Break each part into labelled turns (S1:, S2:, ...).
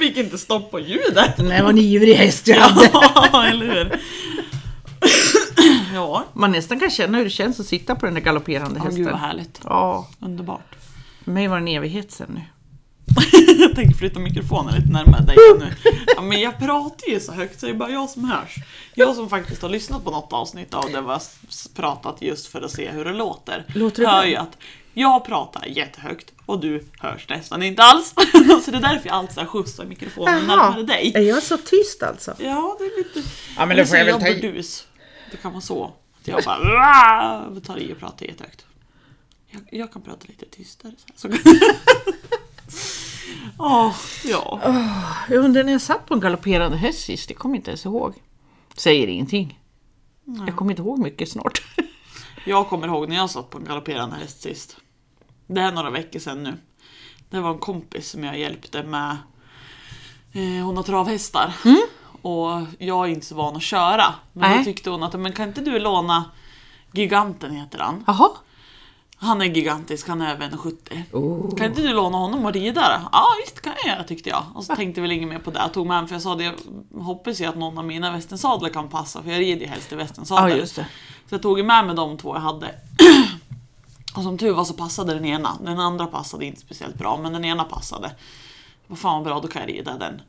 S1: inte stopp på ljudet.
S2: Nej, vad en ivrig häst jag hade.
S1: Ja, eller hur? Ja,
S2: Man nästan kan känna hur det känns att sitta på den där galopperande
S1: oh,
S2: hästen.
S1: gud vad härligt.
S2: ja,
S1: Underbart.
S2: för mig var det en evighet sen nu.
S1: Jag tänker flytta mikrofonen lite närmare dig nu. Ja, men jag pratar ju så högt så det är bara jag som hörs. Jag som faktiskt har lyssnat på något avsnitt av det var s- pratat just för att se hur det låter.
S2: Låter det
S1: hör
S2: bra?
S1: ju att jag pratar jättehögt och du hörs nästan inte alls. Så det är därför jag alltid så här skjutsar mikrofonen närmare dig.
S2: är jag så tyst alltså?
S1: Ja, det är lite...
S2: Ja, men
S1: det
S2: då
S1: är
S2: får jag
S1: så
S2: väl ta
S1: jag
S2: i.
S1: burdus. Det kan vara så. Att jag bara "Rah!" tar i och pratar jättehögt. Jag, jag kan prata lite tystare så här. Så. Åh, ja.
S2: Jag undrar när jag satt på en galopperande häst sist, det kommer jag inte ens ihåg. Säger ingenting. Jag kommer inte ihåg mycket snart.
S1: Jag kommer ihåg när jag satt på en galopperande häst sist. Det är några veckor sedan nu. Det var en kompis som jag hjälpte med. Eh, hon har travhästar. Och jag är inte så van att köra. Men då
S2: Mm. Nej.
S1: tyckte hon att men kan inte du låna Giganten heter han.
S2: Jaha?
S1: Han är gigantisk, han är över 1,70.
S2: Oh.
S1: Kan inte du låna honom och rida? då?" Ja visst kan jag göra tyckte jag. Och så tänkte jag väl inget mer på det. Jag tog med honom för jag sa det, jag hoppas ju att någon av mina västensadlar kan passa för jag rider ju helst i
S2: Ja,
S1: västensadel.
S2: just det.
S1: så jag tog ju med mig de två jag hade. Och som tur var så passade den ena. Den andra passade inte speciellt bra men den ena passade. Vad fan vad bra, då kan jag rida den.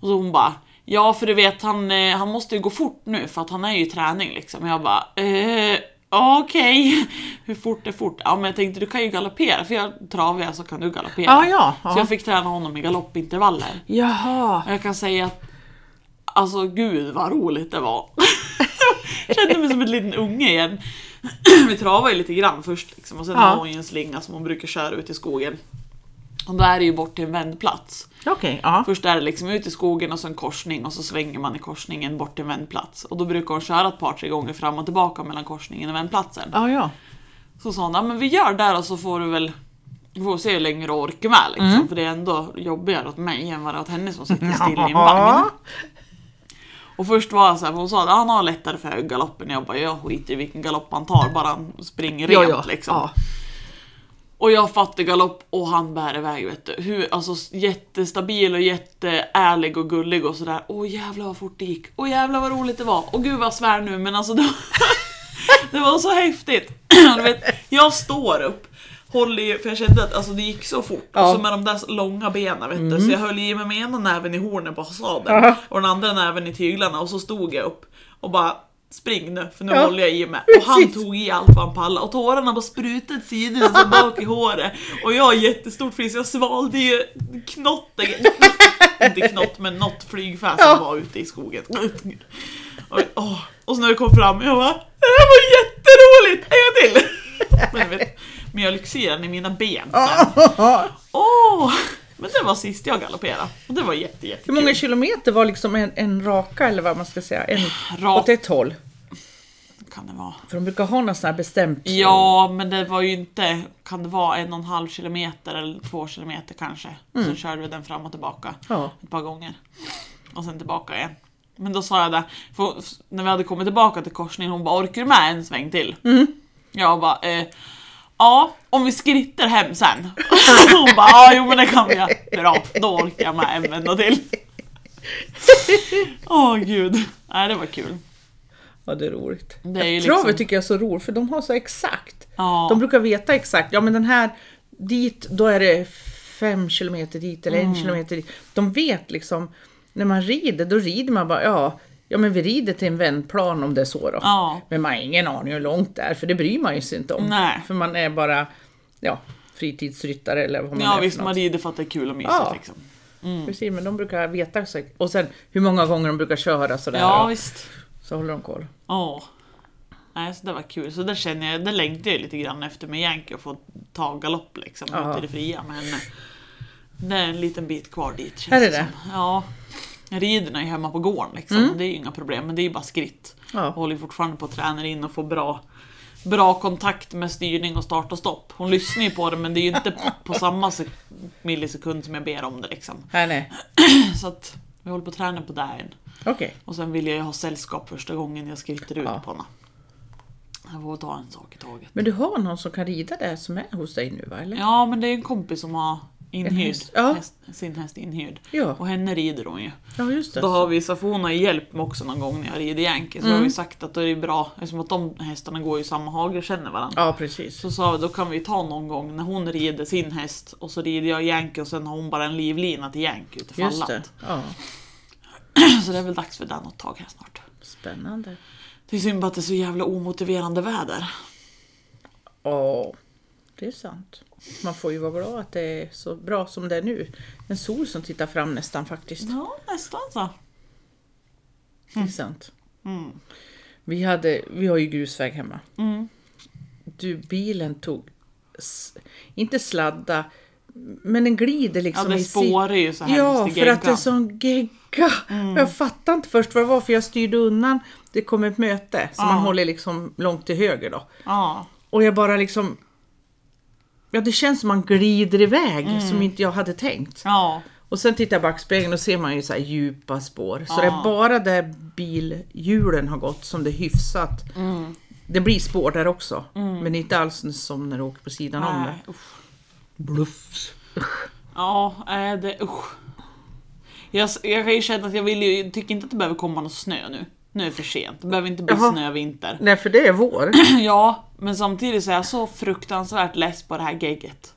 S1: Och så hon bara Ja för du vet han, eh, han måste ju gå fort nu för att han är ju i träning liksom. Och jag bara eh, okej. Hur fort är fort? Ja men jag tänkte du kan ju galoppera för jag travar så kan du galoppera.
S2: Ja, ja. ja.
S1: Så jag fick träna honom i galoppintervaller.
S2: Jaha.
S1: Och jag kan säga att Alltså gud vad roligt det var. jag kände mig som en liten unge igen. Vi travade ju lite grann först liksom, och sen
S2: Ja.
S1: har hon ju en slinga som hon brukar köra ut i skogen. Och där är det ju bort till en vändplats.
S2: Okej, ja.
S1: Först är det liksom ut i skogen och så en korsning och så svänger man i korsningen bort till en vändplats. Och då brukar hon köra ett par tre gånger fram och tillbaka mellan korsningen och vändplatsen.
S2: Ja, ja.
S1: Så sa hon, "Ja, men vi gör där och så får du väl vi får se hur länge du orkar med liksom, för det är ändå jobbigare åt mig än vad det är åt henne som sitter still i en vagn.
S2: Mm. Ja.
S1: Och först var jag så här, för hon sa att han har lättare för höggaloppen. Jag bara, jag skiter i vilken galopp han tar, bara han springer rent
S2: Ja, ja.
S1: liksom.
S2: ja.
S1: Och jag fattar galopp och han bär iväg vet du. Hur, alltså s- jättestabil och jätteärlig och gullig och sådär. Åh jävlar vad fort det gick. Åh jävlar vad roligt det var. Åh gud vad jag svär nu men alltså det var, det var så häftigt. du vet, jag står upp. Håller i, för jag kände att alltså, det gick så fort.
S2: Ja. Mm.
S1: Och så med de där långa benen vet du. Så jag höll i mig med ena näven i hornen på sadeln.
S2: Ja.
S1: Och den andra näven i tyglarna. Och så stod jag upp och bara Spring nu, för nu
S2: Ja.
S1: håller jag i mig. Och han
S2: Precis.
S1: tog i allt vad han pallade och tårarna bara sprutade åt sidorna så bak i håret. Och jag har jättestort flis, jag svalde ju knotten. Inte knott men något flygfä som
S2: Ja.
S1: var ute i skogen. Och, åh. och så när det kom fram, jag bara Det här var jätteroligt! En till! Men du vet, mjölksyran i mina ben. så här. Åh! Men det var sist jag galopperade. Och det var jätte,
S2: Hur
S1: jättekul.
S2: många kilometer var liksom en, en raka eller vad man ska säga? En,
S1: Rak-
S2: Åt ett håll.
S1: kan det vara?
S2: För de brukar ha något sånt här bestämt.
S1: Ja, men det var ju inte, kan det vara en och en halv kilometer eller två kilometer kanske. Sen körde vi den fram och tillbaka
S2: Mm. Ja.
S1: ett par gånger. Och sen tillbaka igen. Men då sa jag det, för när vi hade kommit tillbaka till korsningen, hon bara orkar du med en sväng till?
S2: Mm.
S1: Jag bara eh, Ja, om vi skrittar hem sen. Hon bara, ja jo men det kan vi göra. Bra, då orkar jag med en vända till. Åh gud, nej det var kul.
S2: Ja, det är roligt.
S1: Det är ju
S2: Travet
S1: liksom-
S2: tycker jag är så roligt för de har så exakt.
S1: Ja.
S2: De brukar veta exakt. Ja men den här dit, då är det fem kilometer dit eller
S1: Mm.
S2: en kilometer dit. De vet liksom, när man rider, då rider man bara ja, ja men vi rider till en vändplan om det är så då.
S1: Ja.
S2: Men man har ingen aning hur långt det är för det bryr man ju sig inte om.
S1: Nej.
S2: För man är bara ja, fritidsryttare eller vad man är
S1: Ja
S2: för
S1: visst,
S2: något.
S1: man rider för att det är kul och mysigt
S2: Ja.
S1: liksom.
S2: Precis, men de brukar veta. så- Och sen hur många gånger de brukar köra sådär.
S1: Ja
S2: och
S1: visst.
S2: Så håller de koll.
S1: Ja. Nej, så det var kul. Så där känner jag, det längtar jag lite grann efter med Yankee och få ta galopp liksom
S2: Ja.
S1: ute i det fria. Men eh, det är en liten bit kvar dit känns
S2: Är det
S1: som.
S2: det?
S1: Ja. Riderna är ju hemma på gården liksom. Det är ju inga problem, men det är ju bara skritt.
S2: Ja.
S1: Jag håller ju fortfarande på att träna in och få bra Bra kontakt med styrning och start och stopp. Hon lyssnar ju på det men det är ju inte på samma sek- millisekund som jag ber om det liksom.
S2: Nej, nej.
S1: Så att vi håller på att träna på det här än.
S2: Okej.
S1: Och sen vill jag ju ha sällskap första gången jag skritter ut
S2: Ja.
S1: på henne. Jag får ta en sak i taget.
S2: Men du har någon som kan rida där som är hos dig nu va? Eller?
S1: Ja, men det är en kompis som har Inhyrd.
S2: häst, ja.
S1: Häst, sin häst inhyrd.
S2: Ja,
S1: Och henne rider hon ju.
S2: ja just det.
S1: Då har vi, så får hon har hjälp med också någon gång när jag rider yankee. Så
S2: Mm.
S1: har vi sagt att då är det bra, eftersom att de hästarna går i samma hage och känner varandra.
S2: Ja, precis.
S1: Så sa vi, då kan vi ta någon gång när hon rider sin häst och så rider jag yankee och sen har hon bara en livlina till yankee ute i
S2: Just det.
S1: fallat.
S2: Ja,
S1: Så det är väl dags för den att ta här snart.
S2: spännande.
S1: Det är synd bara att det är så jävla omotiverande väder.
S2: Ja, det är sant. Man får ju vara glad att det är så bra som det är nu. En sol som tittar fram nästan faktiskt.
S1: Ja, nästan så.
S2: Det är sant. Mm. Vi, hade, vi har ju grusväg hemma.
S1: Mm.
S2: Du, bilen tog, s- inte sladda, men den glider
S1: Ja,
S2: liksom
S1: det
S2: i si-
S1: spårar ju så här Mm.
S2: Ja,
S1: i
S2: för att det är
S1: geggan.
S2: sån gegga. Jag fattade inte först vad det var för jag styrde undan. Det kom ett möte, så man
S1: Ja.
S2: håller liksom långt till höger då.
S1: Ja.
S2: Och jag bara liksom... Ja, det känns som man glider iväg
S1: Mm.
S2: som inte jag hade tänkt.
S1: Ja.
S2: Och sen tittar jag i backspegeln och ser man ju så här djupa spår. Så
S1: Ja.
S2: det är bara där bilhjulen har gått som det är hyfsat.
S1: Mm.
S2: Det blir spår där också. Men det är inte alls som när du åker på sidan om det.
S1: Nej, usch.
S2: Bluffs.
S1: Ja, äh, det, usch. Jag, s- jag kan ju känna att jag vill ju, jag tycker inte att det behöver komma någon snö nu. Nu är det för sent. Det behöver inte bli
S2: Jaha.
S1: snö vinter.
S2: Nej, för det är vår.
S1: Ja, men samtidigt så är jag så fruktansvärt less på det här gegget.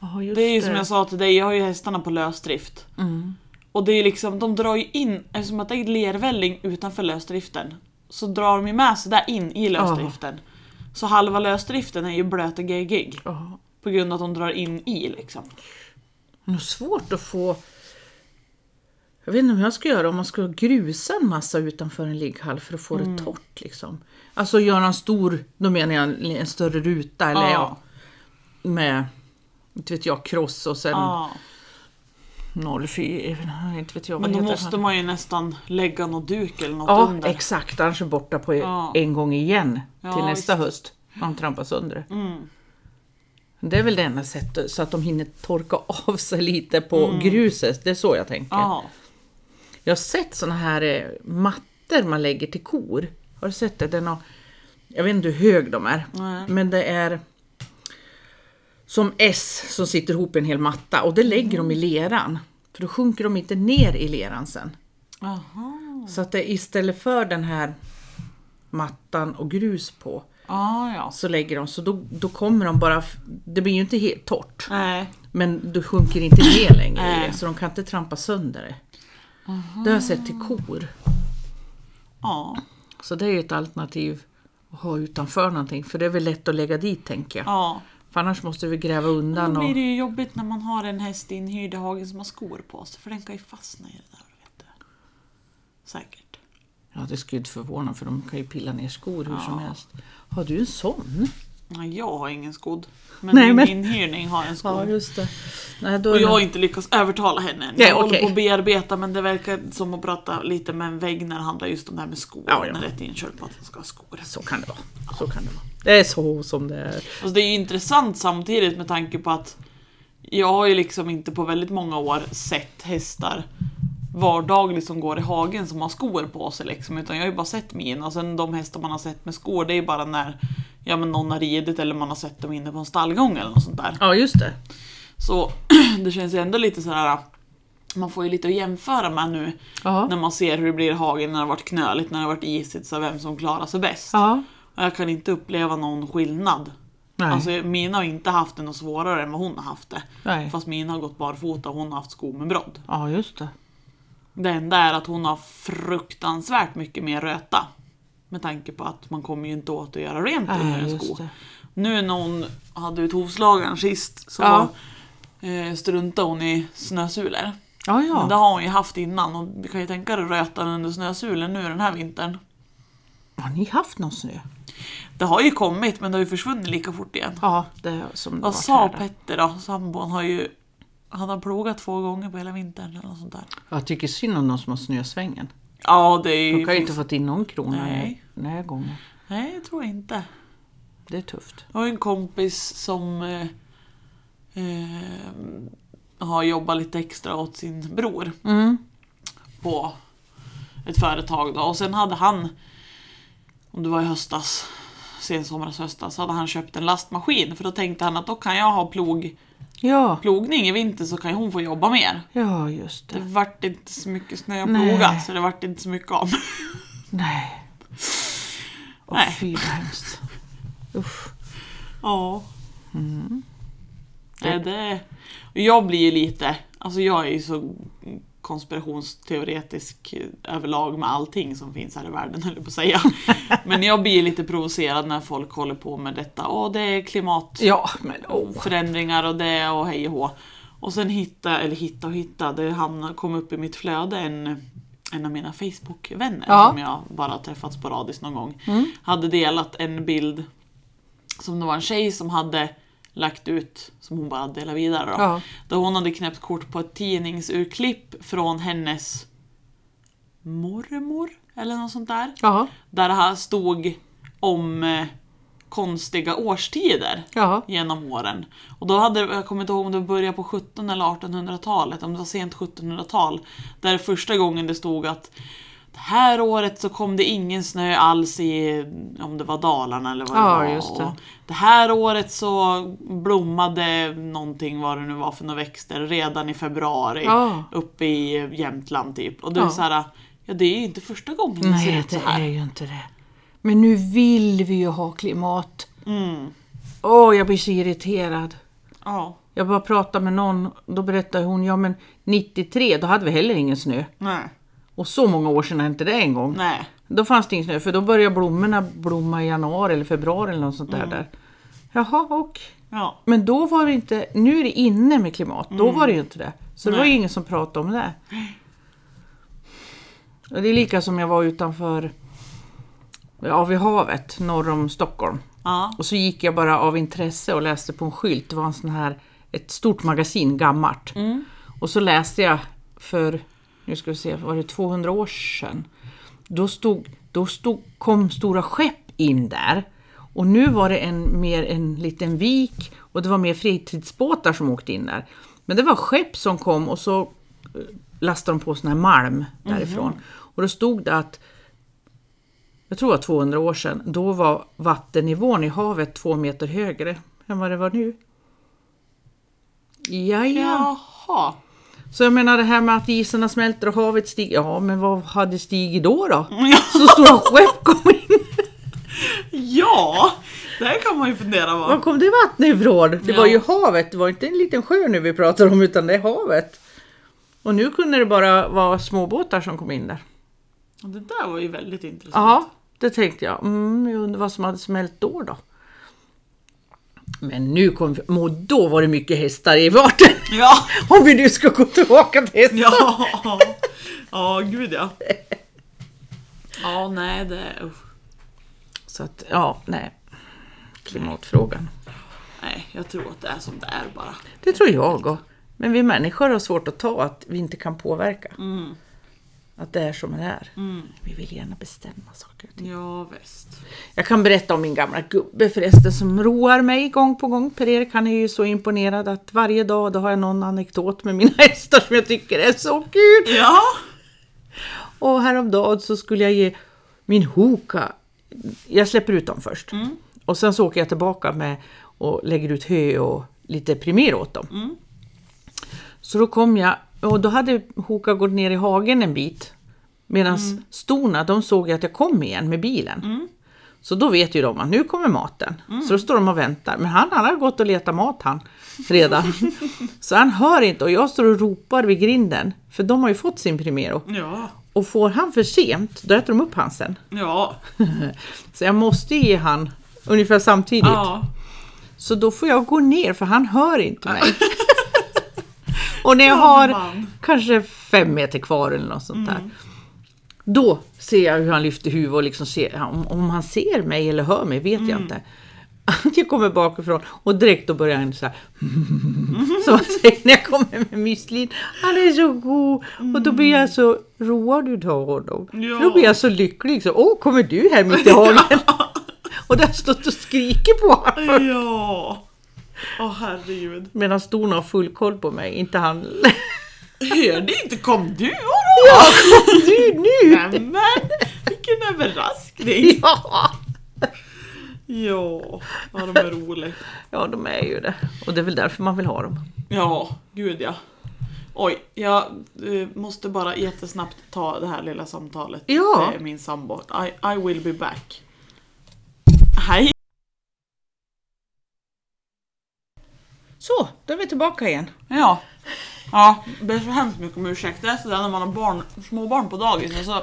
S2: Oh, just
S1: Det är ju som jag sa till dig, jag har ju hästarna på lösdrift.
S2: Mm.
S1: Och det är liksom, de drar ju in, eftersom att det är lervälling utanför lösdriften, så drar de ju med sig där in i lösdriften. Så halva lösdriften är ju blöt och geggig.
S2: Ja.
S1: På grund av att de drar in i liksom.
S2: Det är nog svårt att få... Jag vet inte hur jag ska göra om man ska grusa en massa utanför en ligghall för att få det
S1: Mm.
S2: torrt. Liksom. Alltså göra en stor, då menar jag en, en större ruta eller
S1: Ja.
S2: ja, med, inte vet jag, kross och sen
S1: Ja.
S2: 04, inte vet jag vad
S1: Men då
S2: heter.
S1: måste man ju nästan lägga någon duk eller något
S2: Ja,
S1: under.
S2: exakt. Annars är det borta på
S1: Ja.
S2: en gång igen
S1: Ja,
S2: till nästa
S1: visst. Mm.
S2: höst. Man trampar sönder det. Det är väl det enda sättet, så att de hinner torka av sig lite på gruset. Det är så jag tänker.
S1: Mm. ja.
S2: Jag har sett såna här eh, mattor man lägger till kor. Har du sett det? Den har, jag vet inte hur hög de är.
S1: Nej.
S2: Men det är som S som sitter ihop i en hel matta och det lägger
S1: Mm.
S2: de i leran. För då sjunker de inte ner i leran sen.
S1: Aha.
S2: Så att det istället för den här mattan och grus på
S1: Ah, ja.
S2: så lägger de så då, då kommer de bara, f- det blir ju inte helt torrt.
S1: Nej.
S2: Men du sjunker inte ner längre i
S1: Nej.
S2: det, så de kan inte trampa sönder det. Det har jag sett till kor.
S1: Ja.
S2: Så det är ju ett alternativ att ha utanför någonting, för det är väl lätt att lägga dit tänker jag.
S1: ja.
S2: För annars måste vi gräva
S1: Då
S2: undan och...
S1: blir det ju jobbigt när man har en häst inhyrd i hagen som har skor på sig, för den kan ju fastna i det där. Vet du. Säkert.
S2: Ja, det skulle ju inte förvåna för de kan ju pilla ner skor hur som helst. Har du en sån?
S1: Nej, jag har ingen skodd. Men
S2: Nej,
S1: min
S2: men-
S1: inhyrning har en skod.
S2: just det. Nej, då
S1: och
S2: är
S1: jag har
S2: jag...
S1: inte lyckats övertala henne än. Jag
S2: Nej,
S1: håller
S2: okej.
S1: på att bearbeta men det verkar som att prata lite med en vägg när det handlar just om det här med skor.
S2: Ja,
S1: Ja,
S2: ja.
S1: När det är ett inkörd på att man ska ha skor.
S2: Så kan det vara. Så kan det vara. Det är så som det är.
S1: Alltså det är ju intressant samtidigt med tanke på att jag har ju liksom inte på väldigt många år sett hästar vardagligt som går i hagen som har skor på sig liksom. Utan jag har ju bara sett mina och sen de hästar man har sett med skor det är ju bara när ja, men någon har ridit eller man har sett dem inne på en stallgång eller något sånt där.
S2: Ja, just det.
S1: Så det känns ju ändå lite så här. Man får ju lite att jämföra med nu
S2: Ja.
S1: när man ser hur det blir i hagen när det har varit knöligt, när det har varit isigt, så vem som klarar sig bäst.
S2: ja.
S1: Och jag kan inte uppleva någon skillnad
S2: Nej.
S1: Alltså Mina har inte haft det något svårare än vad hon har haft det.
S2: Nej.
S1: Fast Mina har gått barfota och hon har haft skor med brodd.
S2: Ja, just det.
S1: Det enda är att hon har fruktansvärt mycket mer röta. Med tanke på att man kommer ju inte åt att göra rent under
S2: Nej,
S1: en sko.
S2: just det.
S1: Nu när hon hade ut hovslagaren sist så
S2: Ja.
S1: eh, struntade hon i snösulor.
S2: Ja,
S1: Men det
S2: ja.
S1: har hon ju haft innan och du kan ju tänka dig rötan under snösulen nu den här vintern.
S2: Har ni haft någon snö?
S1: Det har ju kommit men det har ju försvunnit lika fort igen.
S2: Ja, det är som det
S1: Vad
S2: varit
S1: sa
S2: här då.
S1: Petter då? Sambon har ju... Han har plogat två gånger på hela vintern eller något sånt där.
S2: Jag tycker synd om de som har snösvängen.
S1: Ja, det är ju...
S2: De kan ju inte fått in någon krona
S1: Nej.
S2: den här gången.
S1: Nej, jag tror inte.
S2: Det är tufft.
S1: Jag har ju en kompis som eh, eh, har jobbat lite extra åt sin bror på ett företag då. Och sen hade han, om det var i höstas, sensomras, höstas, hade han köpt en lastmaskin. För då tänkte han att då kan jag ha plog
S2: Ja,
S1: plogning i vinter så kan ju hon få jobba mer.
S2: ja just
S1: Det
S2: det.
S1: vart inte så mycket snö att
S2: Nej.
S1: ploga så det vart inte så mycket av.
S2: Nej. Åh
S1: Nej.
S2: fy vad hemskt. Usch.
S1: Ja. Nej, det... och Jag blir ju lite, alltså jag är ju så konspirationsteoretisk eh, överlag med allting som finns här i världen höll jag på att säga. Men jag blir lite provocerad när folk håller på med detta. Åh, det är klimat...
S2: Ja, men åh.
S1: förändringar och det och hej och hå. Och sen hitta, eller hitta och hitta, det hamnade, kom upp i mitt flöde en, en av mina Facebook-vänner
S2: Ja. Mm.
S1: som jag bara har träffat sporadiskt någon gång. Hade delat en bild som det var en tjej som hade lagt ut, som hon bara delade vidare då.
S2: Ja.
S1: Där hon hade knäppt kort på ett tidningsurklipp från hennes mormor eller något sånt där.
S2: Ja,
S1: Där det här stod om eh, konstiga årstider
S2: ja.
S1: genom åren. Och då hade, jag kommer inte ihåg om det började på 1700 eller 1800-talet, om det var sent 1700-tal. Där det första gången det stod att det här året så kom det ingen snö alls i, om det var Dalarna eller vad det
S2: Ja,
S1: var.
S2: just det.
S1: Och det här året så blommade någonting, vad det nu var för några växter, redan i februari
S2: Ja.
S1: uppe i Jämtland typ. Och det är
S2: Ja.
S1: så här, ja det är ju inte första gången det Mm. ser
S2: Nej,
S1: ut
S2: det
S1: så här.
S2: är ju inte det. Men nu vill vi ju ha klimat.
S1: Mm.
S2: Åh, jag blir så irriterad.
S1: Ja,
S2: Jag bara pratade med någon, då berättade hon, ja men 93 då hade vi heller ingen snö.
S1: nej,
S2: Och så många år sedan hände det en gång.
S1: nej.
S2: Då fanns det ingen snö för då började blommorna blomma i januari eller februari eller något sånt
S1: Mm.
S2: där. där. Jaha, och?
S1: Ja,
S2: Men då var det inte, nu är det inne med klimat, då var det ju inte det. Så det var ju ingen som pratade om det. Och det är lika som jag var utanför, ja vid havet norr om Stockholm.
S1: ja,
S2: Och så gick jag bara av intresse och läste på en skylt. Det var en sån här, ett stort magasin, gammalt. Och så läste jag för, nu ska vi se, var det 200 år sedan? Då, stod, då stod, kom stora skepp in där. Och nu var det en, mer en liten vik och det var mer fritidsbåtar som åkte in där. Men det var skepp som kom och så eh, lastade de på sån här malm därifrån. Och då stod det att jag tror det var 200 år sedan, då var vattennivån i havet två meter högre än vad det var nu. Ja, ja.
S1: jaha.
S2: Så jag menar det här med att isarna smälter och havet stiger. Ja, men vad hade stigit då då? Så stora skepp kom in.
S1: Ja, det här kan man ju fundera på.
S2: Var kom det vattnet ifrån? Det var
S1: Ja.
S2: ju havet, det var inte en liten sjö nu vi pratar om utan det är havet. Och nu kunde det bara vara småbåtar som kom in där.
S1: Det där var ju väldigt intressant.
S2: Ja, det tänkte jag. Mm, jag undrar vad som hade smält då då. Men nu kom vi, och då var det mycket hästar i farten.
S1: Ja,
S2: Om vi nu ska gå tillbaka till hästar.
S1: ja, ja, gud ja. Ja, nej det, usch.
S2: Så att, ja, nej. Klimatfrågan.
S1: nej, jag tror att det är som det är bara.
S2: Det tror jag och. Men vi människor har svårt att ta att vi inte kan påverka. Att det är som det är. Vi vill gärna bestämma saker.
S1: Ja, visst.
S2: Jag kan berätta om min gamla gubbe förresten som roar mig gång på gång. Per-Erik han är ju så imponerad att varje dag då har jag någon anekdot med mina hästar som jag tycker är så kul.
S1: Ja,
S2: Och häromdagen så skulle jag ge min hoka, jag släpper ut dem först. Och sen så åker jag tillbaka med och lägger ut hö och lite primer åt dem. Så då kom jag och då hade Hoka gått ner i hagen en bit. Medan storna de såg att jag kom igen med bilen. Så då vet ju de att nu kommer maten. Så då står de och väntar. Men han, han har gått och letat mat han redan. så han hör inte och jag står och ropar vid grinden. För de har ju fått sin Primero.
S1: ja,
S2: Och får han för sent, då äter de upp han sen.
S1: ja,
S2: Så jag måste ge han ungefär samtidigt.
S1: ja.
S2: Så då får jag gå ner för han hör inte mig. och när jag
S1: Ja,
S2: har
S1: man.
S2: kanske fem meter kvar eller något sånt där. Då ser jag hur han lyfter huvudet och liksom ser, om, om han ser mig eller hör mig vet jag inte. Att jag kommer bakifrån och direkt då börjar han så här. Som han säger när jag kommer med müslin. Han är så god! Och då blir jag så road av honom.
S1: Ja.
S2: För Då blir jag så lycklig. Så, Åh, kommer du här mitt i hagen? och där har jag stått och skriker på honom.
S1: Ja. Åh herregud.
S2: Medan storna har full koll på mig, inte han.
S1: Hörde inte kom du då?
S2: du nu!
S1: Men vilken överraskning.
S2: Ja!
S1: Ja, ja de är roliga.
S2: Ja, de är ju det. Och det är väl därför man vill ha dem.
S1: Ja, gud ja. Oj, jag eh, måste bara jättesnabbt ta det här lilla samtalet.
S2: Ja.
S1: Det är min sambo. I, I will be back. Hej!
S2: Så, då är vi tillbaka igen.
S1: Ja. Ja, ber så hemskt mycket om ursäkt. Det är sådär när man har barn, småbarn på dagis och så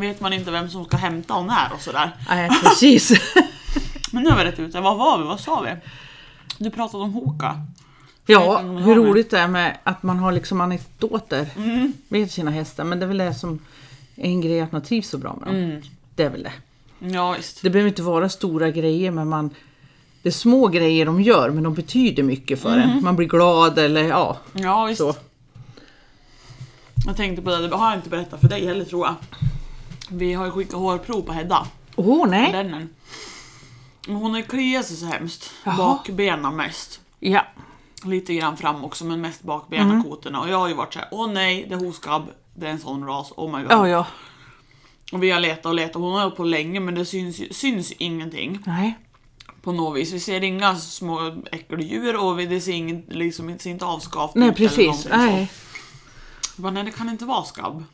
S1: vet man inte vem som ska hämta och när och sådär.
S2: Nej, precis.
S1: Men nu har vi rätt ut det. Vad var vi? Vad sa vi? Du pratade om Hoka.
S2: ja, hur roligt det är med Mm. att man har liksom anekdoter med sina hästar. Men det är väl det som är en grej att man trivs så bra med dem. Det är väl det.
S1: Ja, visst.
S2: Det behöver inte vara stora grejer men man det är små grejer de gör men de betyder mycket för en. Man blir glad eller ja,
S1: Ja, visst.
S2: så.
S1: Jag tänkte på det, det har jag inte berättat för dig heller tror jag. Vi har ju skickat hårprov på Hedda.
S2: Åh oh, nej!
S1: Lännen. Men Hon har ju kliat sig så hemskt.
S2: Jaha.
S1: Bakbenen mest.
S2: Ja.
S1: Lite grann fram också men mest
S2: Mm.
S1: bakbenen koterna. Och jag har ju varit såhär, åh nej det är hoskabb. Det är en sån ras, oh my god.
S2: ja, ja.
S1: Och vi har letat och letat, hon har hållit på länge men det syns, ju- syns ingenting.
S2: Nej.
S1: på något vis. Vi ser inga små äckeldjur och vi, det ser, ingen, liksom, det ser inte avskavt
S2: Nej
S1: ut eller
S2: precis.
S1: någonting
S2: Nej.
S1: sånt. Jag bara, nej det kan inte vara skabb.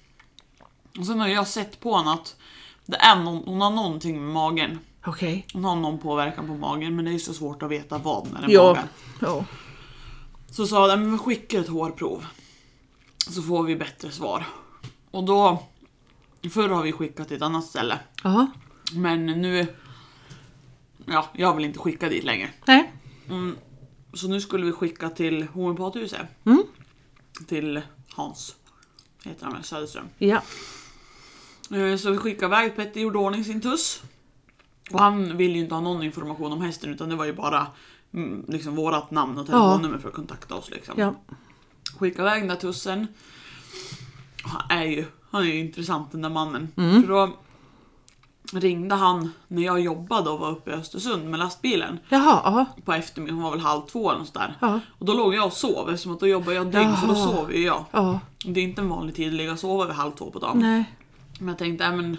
S1: Och sen har jag sett på henne att det är någon, hon har någonting med magen.
S2: Okej.
S1: Hon har någon påverkan på magen men det är ju så svårt att veta vad när det är
S2: Ja.
S1: magen.
S2: ja.
S1: Så sa jag, "Nej, men vi skickar ett hårprov. Så får vi bättre svar. Och då, förr har vi skickat till ett annat ställe.
S2: Ja.
S1: Men nu, ja jag vill inte skicka dit längre.
S2: Nej.
S1: Så nu skulle vi skicka till homeopathuset.
S2: Mm.
S1: Till Hans. Heter han väl, Söderström.
S2: Ja.
S1: Eh, Så vi skickade iväg Petter, gjorde ordning sin tuss. Och han ville ju inte ha någon information om hästen utan det var ju bara mm, liksom vårat namn och telefonnummer för att kontakta oss. Liksom.
S2: Ja.
S1: Skickade iväg den där tussen. Och Han är ju, han är ju intressant den där mannen.
S2: Mm.
S1: För då ringde han när jag jobbade och var uppe i Östersund med lastbilen
S2: Jaha. Ja.
S1: på eftermiddagen, hon var väl halv två eller något sånt där.
S2: Ja.
S1: Och då låg jag och sov eftersom att då jobbar jag dygn så då
S2: Jaha.
S1: sover ju jag.
S2: Ja.
S1: Det är inte en vanlig tid att ligga och sova vid halv två på dagen.
S2: Nej.
S1: Men jag tänkte, äh, men,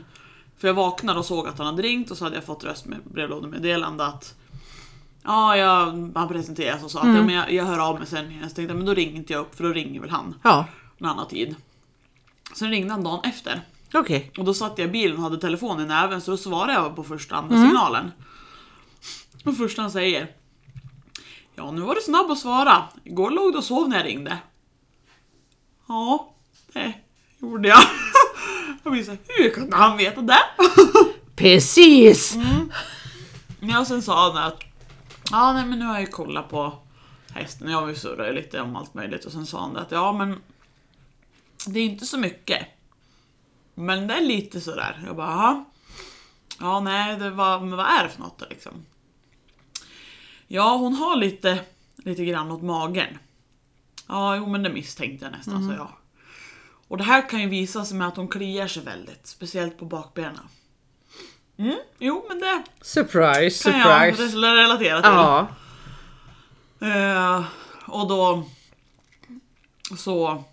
S1: för jag vaknade och såg att han hade ringt och så hade jag fått röstbrevlådemeddelande att Ja, jag, han presenterade sig och sa att ja, men jag, jag hör av mig sen. Jag tänkte men då ringer inte jag upp för då ringer väl han
S2: Ja.
S1: en annan tid. Sen ringde han dagen efter.
S2: Okej.
S1: Och då satt jag i bilen och hade telefonen i näven så då svarade jag på första andra signalen. Och första han säger. Ja nu var du snabb att svara. Igår låg du och sov när jag ringde. Ja, det gjorde jag. Jag blir så här, hur kunde han veta det?
S2: Precis!
S1: Ja, och sen sa han att ja, nej, men nu har jag ju kollat på hästen och jag vill surra ju lite om allt möjligt och sen sa han det att ja men det är inte så mycket. Men det är lite sådär. Jag bara "Jaha." ja nej det var, men vad är det för något då liksom? Ja hon har lite, lite grann åt magen. Ja jo men det misstänkte jag nästan så jag. Och det här kan ju visa sig med att hon kliar sig väldigt, speciellt på bakbenen. Mm, jo men det
S2: Surprise,
S1: kan jag
S2: surprise.
S1: re- relatera till.
S2: Ja.
S1: Eh, och då så,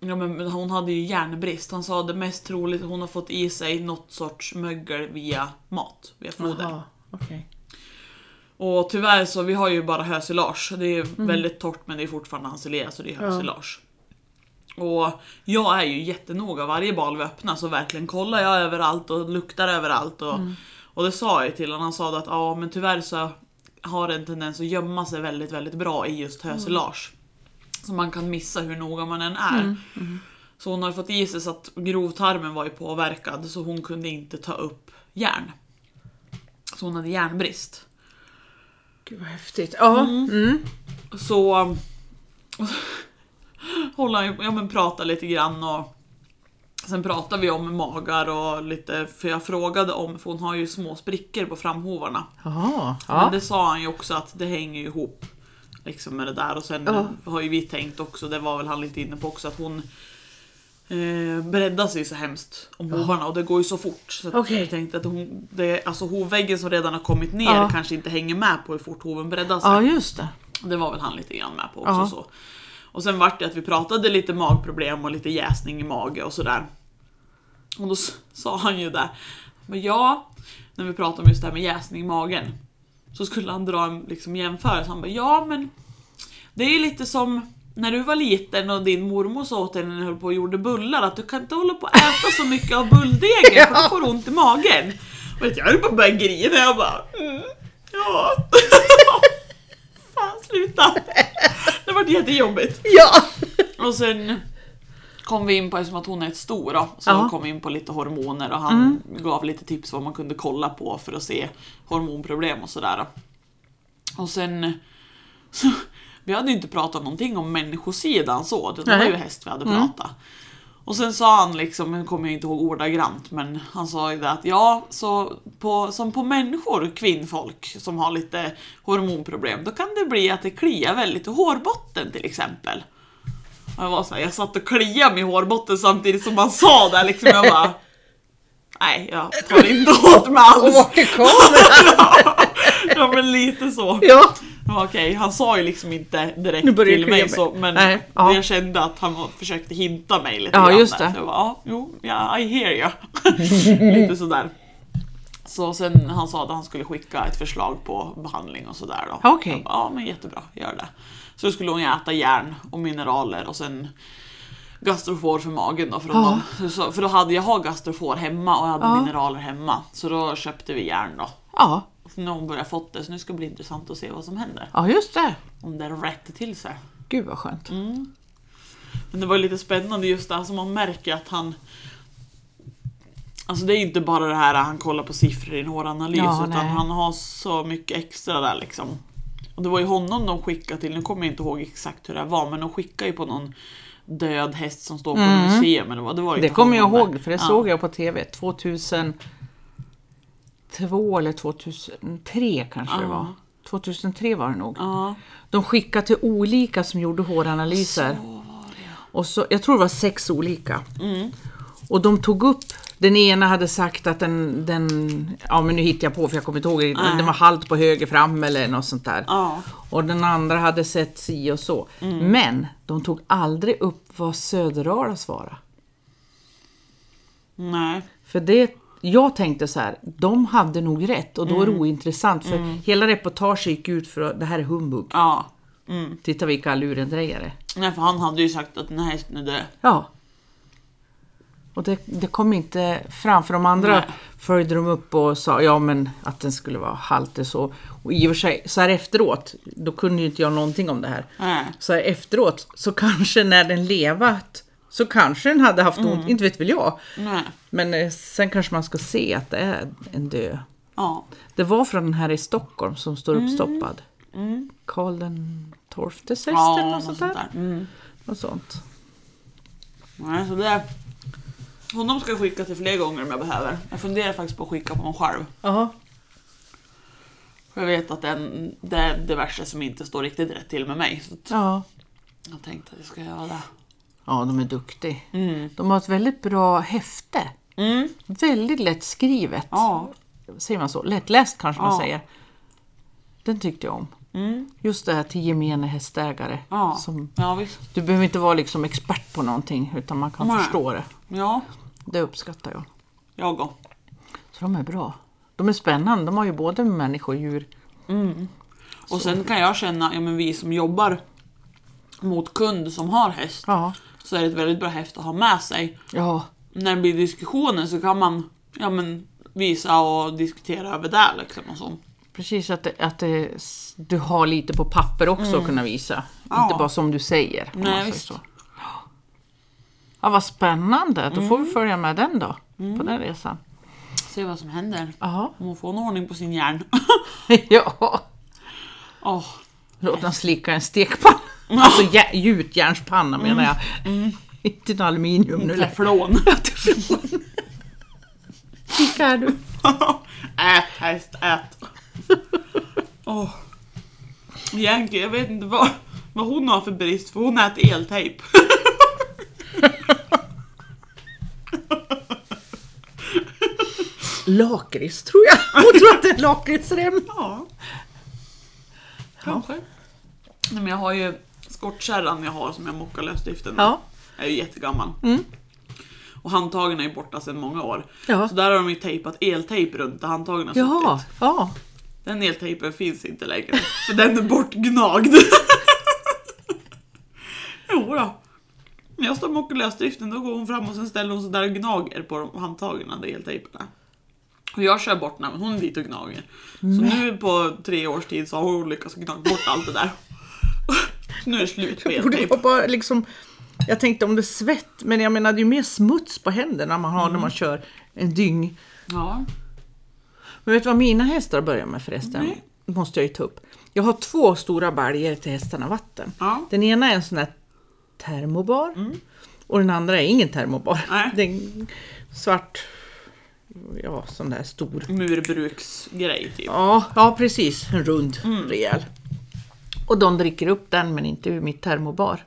S1: ja men men hon hade ju järnbrist. Han sa det mest troligt hon har fått i sig något sorts mögel via mat, via foder.
S2: Jaha. Okej.
S1: Och tyvärr så, vi har ju bara hösilage. Det är ju väldigt torrt men det är fortfarande ensilea så det är hösilage. Och jag är ju jättenoga varje bal vi öppnar så verkligen kollar jag överallt och luktar överallt. Och, och det sa jag ju till honom, han sa att ja men tyvärr så har det en tendens att gömma sig väldigt väldigt bra i just hösilage. Så man kan missa hur noga man än är. Så hon har ju fått i sig så att grovtarmen var ju påverkad så hon kunde inte ta upp järn. Så hon hade järnbrist.
S2: Gud vad häftigt. Ja. Mm.
S1: Så och så håller han ju- ja, men pratar lite grann och sen pratar vi om magar och lite, för jag frågade om, för hon har ju små sprickor på framhovarna.
S2: Jaha.
S1: Men
S2: Ja.
S1: det sa han ju också att det hänger ju ihop liksom med det där och sen
S2: Ja.
S1: har ju vi tänkt också, det var väl han lite inne på också, att hon eh, breddar sig så hemskt om hovarna och det går ju så fort. Så att
S2: Okej.
S1: jag tänkte att hon, det, alltså hovväggen som redan har kommit ner
S2: Ja.
S1: kanske inte hänger med på hur fort hoven breddar sig.
S2: ja, just det.
S1: Det var väl han lite grann med på också.
S2: Ja.
S1: Så. Och sen vart det att vi pratade lite magproblem och lite jäsning i mage och sådär. Och då s- sa han ju där, men ja, när vi pratade om just det här med jäsning i magen. Så skulle han dra en liksom, jämförelse. Han bara, ja men det är ju lite som när du var liten och din mormor sa åt dig när ni höll på och gjorde bullar att du kan inte hålla på och äta så mycket av bulldegen för då får du ont i magen. Och jag höll på att börja grina. Jag bara, mm, ja. Fan sluta. Det var jättejobbigt.
S2: Ja!
S1: Och sen kom vi in på, eftersom att hon är ett stor då, så
S2: Ja. Mm.
S1: kom vi in på lite hormoner och han gav lite tips vad man kunde kolla på för att se hormonproblem och sådär. Och sen så, vi hade ju inte pratat någonting om människosidan så, utan det var
S2: Nej. Mm.
S1: ju häst vi hade pratat. Och sen sa han liksom, nu kommer jag inte ihåg ordagrant, men han sa ju det att ja, så på, som på människor, kvinnfolk som har lite hormonproblem, då kan det bli att det kliar väldigt i hårbotten till exempel. Och jag var så här, jag satt och kliade mig i hårbotten samtidigt som han sa det här, liksom, jag bara Nej, jag tar inte åt mig
S2: Och
S1: alls.
S2: vart det kommer!
S1: Ja men lite så.
S2: Ja!
S1: Ja, Okej, han sa ju liksom inte direkt
S2: Nu börjar det
S1: till mig
S2: klia mig.
S1: så, men
S2: Nej, ja.
S1: jag kände att han var- försökte hinta mig lite
S2: Ja,
S1: grann
S2: just
S1: där.
S2: det.
S1: Så jag bara, ja, jo, ja, I hear you. lite sådär. Så sen han sa att han skulle skicka ett förslag på behandling och sådär då.
S2: Okej.
S1: Jag bara, Ja men jättebra, gör det. Så då skulle hon ju äta järn och mineraler och sen gastrofor för magen då. För, om
S2: Ja.
S1: de, så- för då hade jag har gastrofor hemma och jag hade
S2: Ja.
S1: mineraler hemma. Så då köpte vi järn då.
S2: Ja,
S1: Så nu har hon börjat fått det så nu ska det bli intressant att se vad som händer
S2: ja just det.
S1: om det rätter till sig.
S2: Gud vad skönt.
S1: Men det var lite spännande just det, alltså man märker att han... Alltså det är ju inte bara det här att han kollar på siffror i en håranalys
S2: Ja,
S1: utan
S2: nej.
S1: han har så mycket extra där liksom. Och det var ju honom de skickade till, nu kommer jag inte ihåg exakt hur det här var men de skickade ju på någon död häst som står på
S2: Mm.
S1: museum eller vad det var. ju
S2: Det
S1: till
S2: kommer jag
S1: honom där.
S2: ihåg för det
S1: Ja.
S2: såg jag på TV 2002 eller 2003 kanske det
S1: Ja.
S2: var. 2003 var det nog.
S1: Ja.
S2: De skickade till olika som gjorde håranalyser. Och så, jag tror det var sex olika.
S1: Mm.
S2: Och de tog upp, den ena hade sagt att den, den ja men nu hittar jag på för jag kommer inte ihåg,
S1: Nej.
S2: den var halt på höger fram eller något sånt där.
S1: Ja. Mm.
S2: Och den andra hade sett si och så. Men de tog aldrig upp vad Söderalas var.
S1: Nej.
S2: För det, jag tänkte så här, de hade nog rätt och då
S1: Mm.
S2: är det ointressant för hela reportaget gick ut för att det här är humbug.
S1: Ja.
S2: Titta vilka lurendrejare.
S1: Nej för han hade ju sagt att den här hästen är död.
S2: Ja. Och det, det kom inte fram, för de andra
S1: Nej.
S2: följde de upp och sa ja men att den skulle vara haltig så. Och i och för sig, så här efteråt, då kunde ju inte jag någonting om det här.
S1: Nej.
S2: Så här efteråt, så kanske när den levat, så kanske den hade haft
S1: Mm.
S2: ont, inte vet väl jag.
S1: Nej.
S2: Men eh, sen kanske man ska se att det är en död.
S1: Ja.
S2: Det var från den här i Stockholm som står
S1: Mm.
S2: uppstoppad. Karl den XII
S1: Ja,
S2: eller något sånt där.
S1: Mm.
S2: Något sånt.
S1: Nej, så det... Honom ska jag skicka till fler gånger om jag behöver. Jag funderar faktiskt på att skicka på honom själv.
S2: Ja.
S1: För jag vet att det är en- det är diverse som inte står riktigt rätt till med mig. Så att
S2: ja.
S1: jag tänkte att jag ska göra det.
S2: Ja, de är duktiga. De har ett väldigt bra häfte.
S1: Mm.
S2: Väldigt lättskrivet.
S1: Ja.
S2: Säger man så? Lättläst kanske man
S1: Ja.
S2: säger. Den tyckte jag om.
S1: Mm.
S2: Just det här till gemene hästägare.
S1: Ja.
S2: Som,
S1: ja, visst.
S2: du behöver inte vara liksom expert på någonting utan man kan
S1: Nej.
S2: förstå det.
S1: Ja,
S2: Det uppskattar jag.
S1: jag går.
S2: Så de är bra. De är spännande. De har ju både människor och djur.
S1: Och sen kan jag känna, ja men vi som jobbar mot kund som har häst,
S2: Ja.
S1: så är det ett väldigt bra häst att ha med sig.
S2: Ja.
S1: När det blir diskussioner så kan man ja, men, visa och diskutera över det liksom och så.
S2: Precis, att, det, att det, du har lite på papper också att kunna visa.
S1: Mm. Ja.
S2: Inte bara som du säger. om
S1: Nej,
S2: man säger
S1: visst.
S2: så. Ja, vad spännande. Då får vi
S1: Mm.
S2: följa med den då. På den resan.
S1: Se vad som händer.
S2: Jaha.
S1: Om hon får en ordning på sin hjärn.
S2: ja.
S1: Åh,
S2: Låt dem slicka en stekpanna. Alltså jä- gjutjärnspanna menar
S1: Mm.
S2: jag. Inte en aluminium nu längre.
S1: teflon.
S2: Slicka här du.
S1: ät häst, ät. Åh. Yankee, jag vet inte vad, vad hon har för brist för hon äter eltejp.
S2: Lakrits tror jag. Hon tror att det är lakritsrem.
S1: Ja. Kanske. Nej, men jag har ju skottkärran jag har som jag mockar lösdriften med.
S2: Ja. Mm.
S1: Jag är ju jättegammal. Och handtagen är ju borta sedan många år.
S2: Ja.
S1: Så där har de ju tejpat eltejp runt där handtagen alltså typ har
S2: Jaha.
S1: suttit.
S2: Ja.
S1: Den eltejpen finns inte längre, för den är bortgnagd. jo då. När jag står med okulösdriften då går hon fram och sen ställer hon sig där och gnager på de handtagen där eltejperna. Och jag kör bort den, men hon är dit och gnager. Så nu på tre års tid så har hon lyckats gnaga bort allt det där. Så nu är det slut med
S2: Och det
S1: eltejp.
S2: var bara liksom, jag tänkte om det är svett, men jag menar det är ju mer smuts på händerna man har
S1: Mm.
S2: när man kör en dyng.
S1: Ja.
S2: Men vet du vad mina hästar börjar med förresten?
S1: Nej.
S2: Måste jag ju ta upp. Jag har två stora baljor till hästarna vatten.
S1: Ja.
S2: Den ena är en sån där termobar. Och den andra är ingen termobar.
S1: Mm. Nej.
S2: Det är en svart, ja sån där stor.
S1: Murbruksgrej typ.
S2: Ja, ja precis. En rund, rejäl. Och de dricker upp den men inte ur mitt termobar.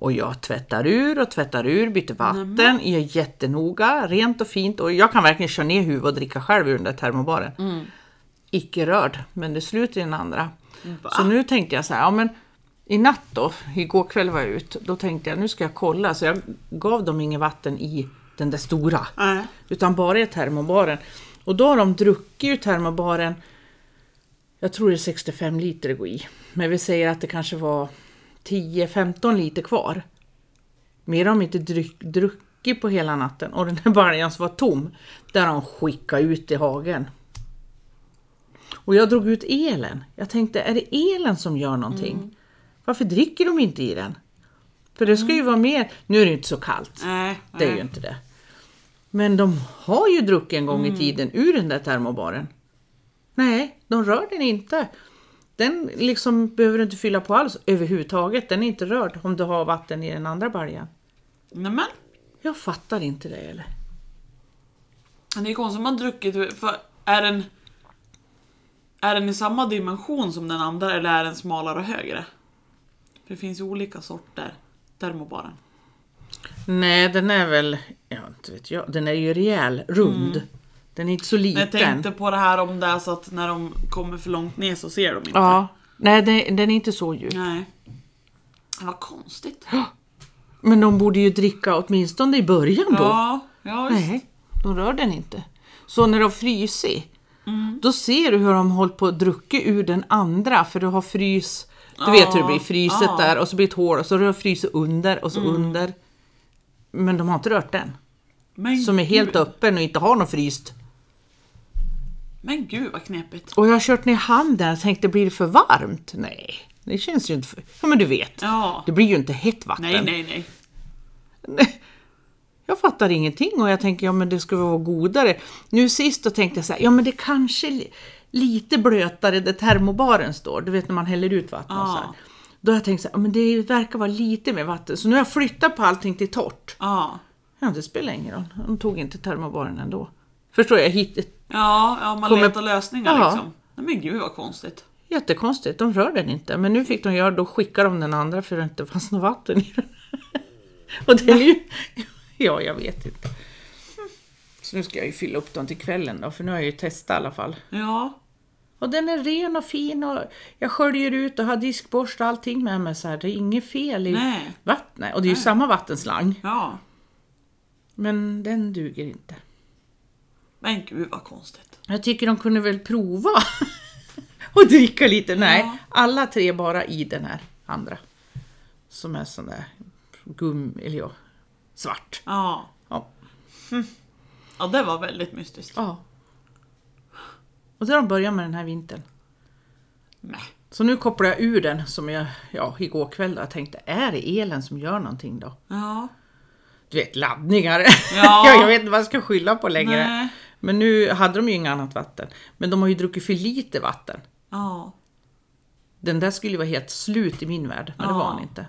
S2: Och jag tvättar ur och tvättar ur, byter vatten, jag är jättenoga, rent och fint. Och jag kan verkligen köra ner huvudet och dricka själv ur den där termobaren. Icke rörd, men det slutar i den andra.
S1: Va?
S2: Så nu tänkte jag så här, ja men i natt då, igår kväll var jag ute, då tänkte jag nu ska jag kolla. Så jag gav dem inget vatten i den där stora.
S1: Nej.
S2: Utan bara i termobaren. Och då har de druckit ur termobaren, jag tror det är 65 liter det går i. Men vi säger att det kanske var 10-15 liter kvar. Mer har de inte dryck, druckit på hela natten. Och den här baljan som var tom, där har de skickat ut i hagen. Och jag drog ut elen. Jag tänkte, är det elen som gör någonting? Varför dricker de inte i den? För det ska ju vara mer... Nu är det ju inte så kallt.
S1: Nej.
S2: Det är ju inte det. Men de har ju druckit en gång
S1: Mm.
S2: i tiden ur den där termobaren. Nej, de rör den inte. Den liksom behöver du inte fylla på alls överhuvudtaget. Den är inte rörd om du har vatten i den andra baljan.
S1: Nämen.
S2: Jag fattar inte det eller?
S1: Men Det är konstigt om man druckit, för är den... Är den i samma dimension som den andra eller är den smalare och högre? För det finns ju olika sorter. Termobaren.
S2: Nej, den är väl, ja inte vet jag, den är ju rejäl, rund. Den är inte så liten.
S1: Mm. Jag tänkte på det här om det är så att när de kommer för långt ner så ser de inte.
S2: Ja, nej den, den är inte så djup.
S1: Nej. Men Vad konstigt.
S2: Men de borde ju dricka åtminstone i början då.
S1: Ja, ja visst.
S2: Nej, de rör den inte. Så när de fryser,
S1: Mm.
S2: då ser du hur de håller på att druckit ur den andra, för du har frys, du vet hur det blir, fryset
S1: ja. Mm.
S2: där och så blir det ett hål och så har du fryser under och så under. Men de har inte rört den,
S1: Men,
S2: som är helt
S1: gud,
S2: öppen och inte har någon fryst.
S1: men gud vad knepigt.
S2: Och jag har kört ner handen och tänkte, blir det för varmt? Nej, det känns ju inte för... Ja men du vet,
S1: Ja.
S2: det blir ju inte hett vatten.
S1: Nej, nej, nej.
S2: Nej. Jag fattar ingenting och jag tänker ja men det skulle vara godare. Nu sist då tänkte jag så här, ja men det kanske li- lite blötare där termobaren står, du vet när man häller ut vatten och så här.
S1: Ja.
S2: Då har jag tänkt så här, ja men det verkar vara lite mer vatten, så nu har jag flyttat på allting till torrt.
S1: Ja.
S2: Ja det spelar ingen roll, de tog inte termobaren ändå. Förstår jag, hit,
S1: Ja, ja man
S2: Kommer-
S1: letar lösningar
S2: Ja.
S1: liksom. Nej, men gud vad konstigt.
S2: jättekonstigt, de rör den inte. Men nu fick de göra, då skickar de den andra för det inte fanns något vatten i den. Och det är ju... Ja, jag vet inte. Så nu ska jag ju fylla upp dem till kvällen då, för nu har jag ju testat i alla fall.
S1: Ja.
S2: Och den är ren och fin och jag sköljer ut och har diskborste och allting med mig så här. Det är inget fel i
S1: Nej.
S2: vattnet. Och det är ju samma vattenslang.
S1: Ja.
S2: Men den duger inte.
S1: Men gud vad konstigt.
S2: Jag tycker de kunde väl prova och dricka lite. Nej,
S1: Ja.
S2: alla tre bara i den här andra. Som är sån där gum, eller ja, svart.
S1: Ja.
S2: Ja.
S1: Ja, det var väldigt mystiskt.
S2: ja. Och så har de börjat med den här vintern.
S1: Nej.
S2: Så nu kopplar jag ur den som jag, ja, igår kväll då. Jag tänkte, är det elen som gör någonting då?
S1: Ja.
S2: Du vet, laddningar.
S1: Ja.
S2: jag vet inte vad jag ska skylla på längre.
S1: Nej.
S2: Men nu hade de ju inget annat vatten. Men de har ju druckit för lite vatten.
S1: Ja.
S2: Den där skulle ju vara helt slut i min värld, men det var han inte.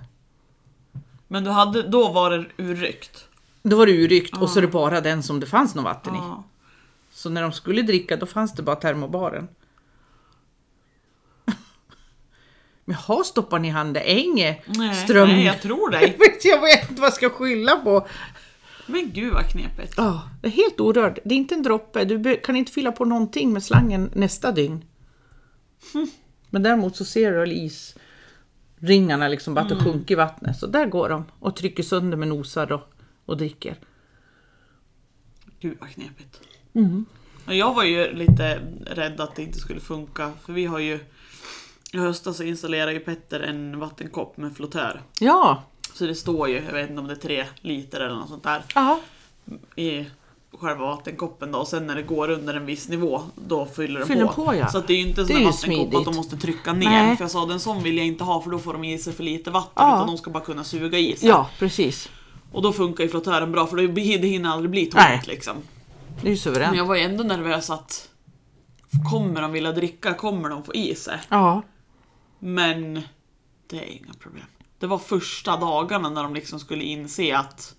S1: Men du hade, då var det urryckt.
S2: Då var det urryckt och så är det bara den som det fanns något vatten i.
S1: Ja.
S2: Så när de skulle dricka då fanns det bara termobaren. Men jag stoppar ni handen? Änge?
S1: Nej,
S2: Ström?
S1: nej, jag tror dig.
S2: Jag vet, jag vet inte vad jag ska skylla på.
S1: Men gud vad knepigt.
S2: Ja, det är helt orörd. Det är inte en droppe. Du be- kan inte fylla på någonting med slangen nästa dygn. Men däremot så ser du isringarna liksom bara att
S1: Mm.
S2: det sjunker i vattnet. Så där går de och trycker sönder med nosar och, och dricker.
S1: Gud vad knepigt. Men Jag var ju lite rädd att det inte skulle funka för vi har ju i höstas så installerade ju Petter en vattenkopp med flottör.
S2: Ja.
S1: Så det står ju, jag vet inte om det är tre liter eller något sånt där
S2: Aha.
S1: i själva vattenkoppen då och sen när det går under en viss nivå då fyller den
S2: Fyller
S1: på.
S2: på, ja.
S1: Så att det är ju inte en sån
S2: Det
S1: där
S2: är ju
S1: vattenkopp att
S2: smidigt.
S1: de måste trycka ner.
S2: Nej.
S1: För jag sa den sån vill jag inte ha för då får de i sig för lite vatten
S2: Ja.
S1: utan de ska bara kunna suga i sig.
S2: Ja, precis.
S1: Och då funkar ju flottören bra för det, blir- det hinner aldrig bli tomt
S2: Nej.
S1: liksom.
S2: Det är ju
S1: Men
S2: suveränt.
S1: jag var ju ändå nervös att kommer de vilja dricka? Kommer de få i sig?
S2: Ja.
S1: Men det är inga problem. Det var första dagarna när de liksom skulle inse att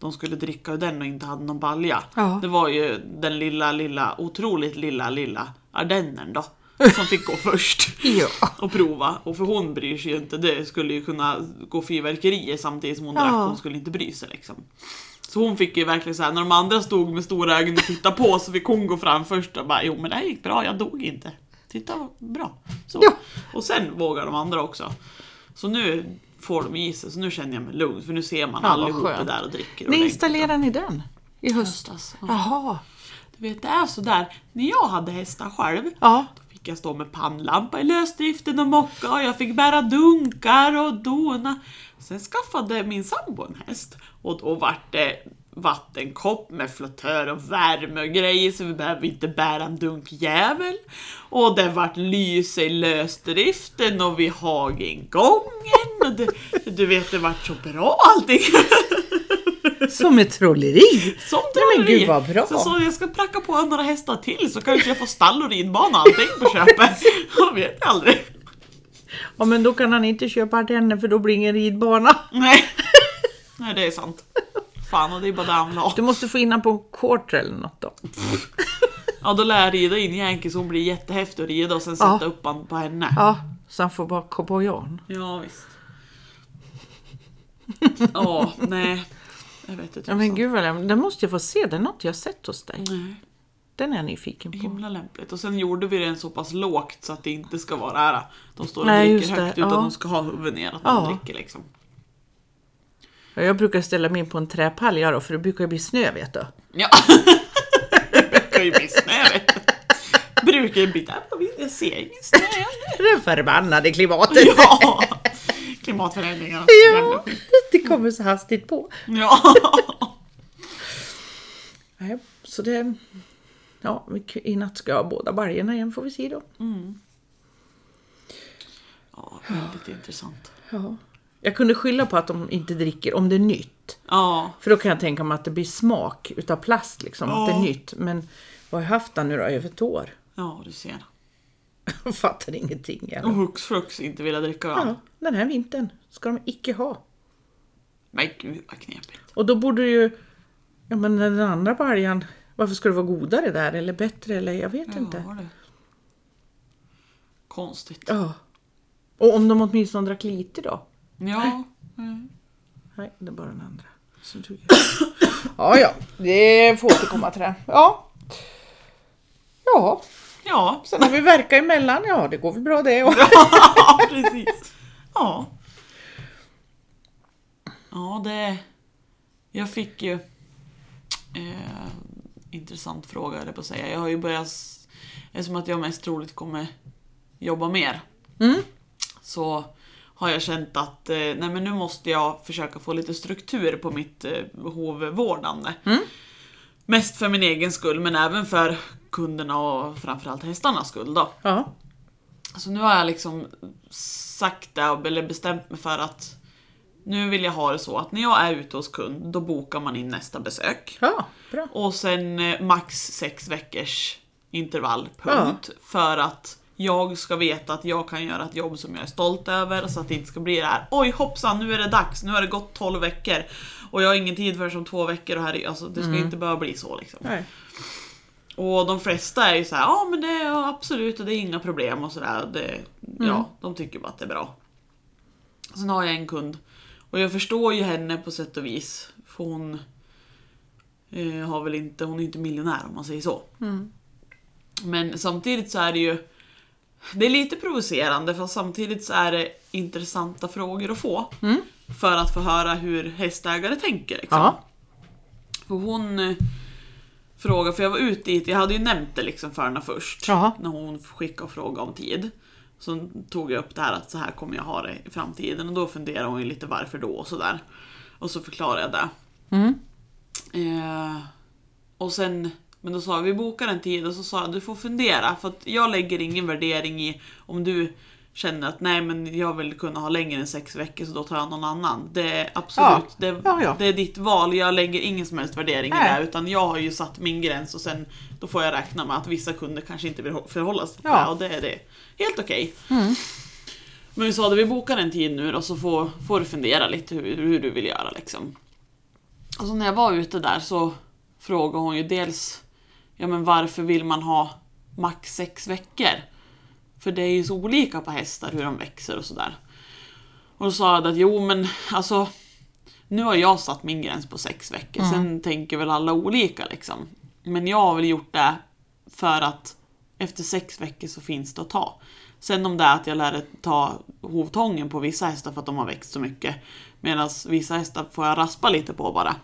S1: de skulle dricka ur den och inte hade någon balja.
S2: Ja.
S1: Det var ju den lilla, lilla, otroligt lilla, lilla ardennern då. Som fick gå först
S2: Ja.
S1: och prova. Och för hon bryr sig ju inte. Det skulle ju kunna gå fyrverkerier samtidigt som hon
S2: Ja.
S1: drack. Hon skulle inte bry sig liksom. Så hon fick ju verkligen så här, när de andra stod med stora ögon och tittade på så fick hon gå fram först och bara jo men det här gick bra, jag dog inte. Titta vad bra. Så.
S2: Ja.
S1: Och sen vågar de andra också. Så nu får de i sig, så nu känner jag mig lugn för nu ser man
S2: Ja, vad
S1: allihop
S2: skönt.
S1: där och dricker.
S2: När
S1: ordentligt.
S2: installerar ni den? I höst?
S1: Höstas.
S2: alltså.
S1: Ja.
S2: Jaha.
S1: Du vet det är sådär, när jag hade hästar själv
S2: Ja.
S1: då fick jag stå med pannlampa i lösdriften och mocka och jag fick bära dunkar och dona. Sen skaffade min sambo en häst och då vart det vattenkopp med flottör och värme och grejer så vi behövde inte bära en dunkjävel. Och det vart lyse i lösdriften och vid hagengången. Och det, du vet, det vart så bra allting.
S2: Som ett trolleri.
S1: Som
S2: Nej, men
S1: trolleri.
S2: gud, vad bra.
S1: Så jag sa jag ska pracka på några hästar till så kanske jag får stall och ridbana och allting på köpet. Jag vet aldrig.
S2: Ja, men då kan han inte köpa ardenner för då blir det ingen ridbana.
S1: Nej. Nej, det är sant. Fan, och det är bara det han vill ha.
S2: Du måste få in honom på quarter eller något då.
S1: Ja, då lär jag rida in Yankee så hon blir jättehäftig att rida och sen sätta
S2: Ja.
S1: upp han på henne.
S2: Ja, så han får bara gå på Jan.
S1: Ja, visst. Ja, nej. Jag vet inte.
S2: Ja men gud vad läm- den måste jag få se, den har inte jag sett hos dig.
S1: Nej,
S2: Den är jag nyfiken på.
S1: himla lämpligt. Och sen gjorde vi den så pass lågt så att det inte ska vara här. De står och
S2: Nej,
S1: dricker
S2: just det.
S1: högt utan
S2: Ja.
S1: de ska ha huvudet ner att
S2: Ja.
S1: de dricker liksom.
S2: Ja, Jag brukar ställa mig in på en träpall jag då, för det brukar ju bli snö vet du.
S1: Ja. Det kan ju bli snö vet du. Brukar ju bli där på vind. Jag ser ingen snö ännu.
S2: Det förbannade klimatet!
S1: Ja. Klimatförändringarna.
S2: Ja, det kommer så hastigt på.
S1: Ja.
S2: Nej, så det... Ja, vi k- i natt ska jag ha båda baljorna igen får vi se då.
S1: ja. Väldigt intressant.
S2: Ja. Jag kunde skylla på att de inte dricker om det är nytt.
S1: Ja.
S2: För då kan jag tänka mig att det blir smak utav plast liksom, att det är
S1: Ja.
S2: nytt. Men vad har jag haft den nu då, över ett år?
S1: Ja, du ser.
S2: Jag fattar ingenting. Jag.
S1: Och hux flux inte vilja dricka öl.
S2: Ja, den här vintern ska de icke ha.
S1: Men gud vad knepigt.
S2: Och då borde ju, ja men den andra baljan, varför skulle det vara godare där eller bättre eller jag vet inte.
S1: Ja, du. Konstigt.
S2: Ja. Och om de åtminstone drack lite då?
S1: Ja. Mm.
S2: Nej, det är bara den andra. som tog jag. ja, ja, det får återkomma till det. Ja. Ja,
S1: Ja,
S2: sen har vi verka emellan, ja det går väl bra det. Och...
S1: precis. Ja. Ja, det... Jag fick ju... Eh, intressant fråga, höll jag på att säga. Jag har ju börjat... s- Eftersom att jag mest troligt kommer jobba mer
S2: Mm.
S1: så har jag känt att eh, nej, men nu måste jag försöka få lite struktur på mitt eh, hovvårdande. Mest för min egen skull, men även för kunderna och framförallt hästarnas skull. Då.
S2: Ja.
S1: Så nu har jag liksom sakta, eller bestämt mig för att nu vill jag ha det så att när jag är ute hos kund, då bokar man in nästa besök.
S2: ja, bra.
S1: Och sen eh, max sex veckors intervall, punkt. För att jag ska veta att jag kan göra ett jobb som jag är stolt över så att det inte ska bli det här Oj hoppsan, nu är det dags, nu har det gått 12 veckor och jag har ingen tid förrän om två veckor och här är, alltså, det ska inte behöva bli så liksom.
S2: Nej.
S1: Och de flesta är ju så här, ja men det är absolut och det är inga problem och sådär. Det, Ja, de tycker bara att det är bra. Sen har jag en kund och jag förstår ju henne på sätt och vis. För hon eh, har väl inte, hon är inte miljonär om man säger så. Men samtidigt så är det ju det är lite provocerande för samtidigt så är det intressanta frågor att få. För att få höra hur hästägare tänker. Liksom.
S2: Ja.
S1: För hon eh, fråga, för jag var ute dit, jag hade ju nämnt det liksom för henne först.
S2: Jaha.
S1: När hon skickade och frågade om tid. Så tog jag upp det här att så här kommer jag ha det i framtiden och då funderade hon ju lite varför då och sådär. Och så förklarade jag det.
S2: Mm.
S1: Eh, och sen, men då sa jag, vi bokar en tid och så sa jag du får fundera för att jag lägger ingen värdering i om du känner att nej men jag vill kunna ha längre än sex veckor så då tar jag någon annan. Det är absolut, det,
S2: ja, ja.
S1: det är ditt val. Jag lägger ingen som helst värdering i
S2: Nej.
S1: det utan jag har ju satt min gräns och sen då får jag räkna med att vissa kunder kanske inte vill förhålla sig till
S2: Ja.
S1: det och det är det. Helt okej. Men vi sa att vi bokar en tid nu och så får, får du fundera lite hur, hur du vill göra liksom. Och så när jag var ute där så frågade hon ju dels Ja men varför vill man ha max sex veckor? För det är ju så olika på hästar hur de växer och sådär. Och då sa jag att jo men alltså Nu har jag satt min gräns på sex veckor, sen tänker väl alla olika liksom. Men jag har väl gjort det för att efter sex veckor så finns det att ta. Sen om det är att jag lärde ta hovtången på vissa hästar för att de har växt så mycket. Medan vissa hästar får jag raspa lite på bara.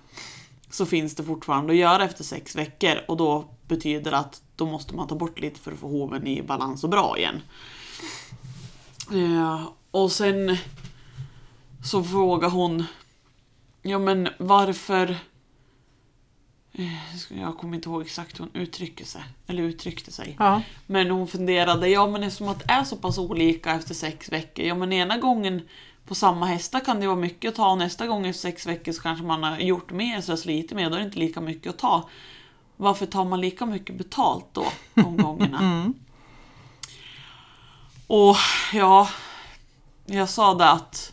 S1: Så finns det fortfarande att göra efter sex veckor och då betyder det att då måste man ta bort lite för att få hoven i balans och bra igen. Eh, och sen så frågar hon Ja men varför Eh, ska- Jag kommer inte ihåg exakt hur hon uttrycker sig, eller uttryckte sig.
S2: Ja.
S1: Men hon funderade, ja men eftersom att det är så pass olika efter sex veckor, ja men ena gången på samma hästar kan det vara mycket att ta och nästa gång efter sex veckor så kanske man har gjort mer, så lite mer, då är det inte lika mycket att ta. Varför tar man lika mycket betalt då, de gångerna? Och ja, jag sa det att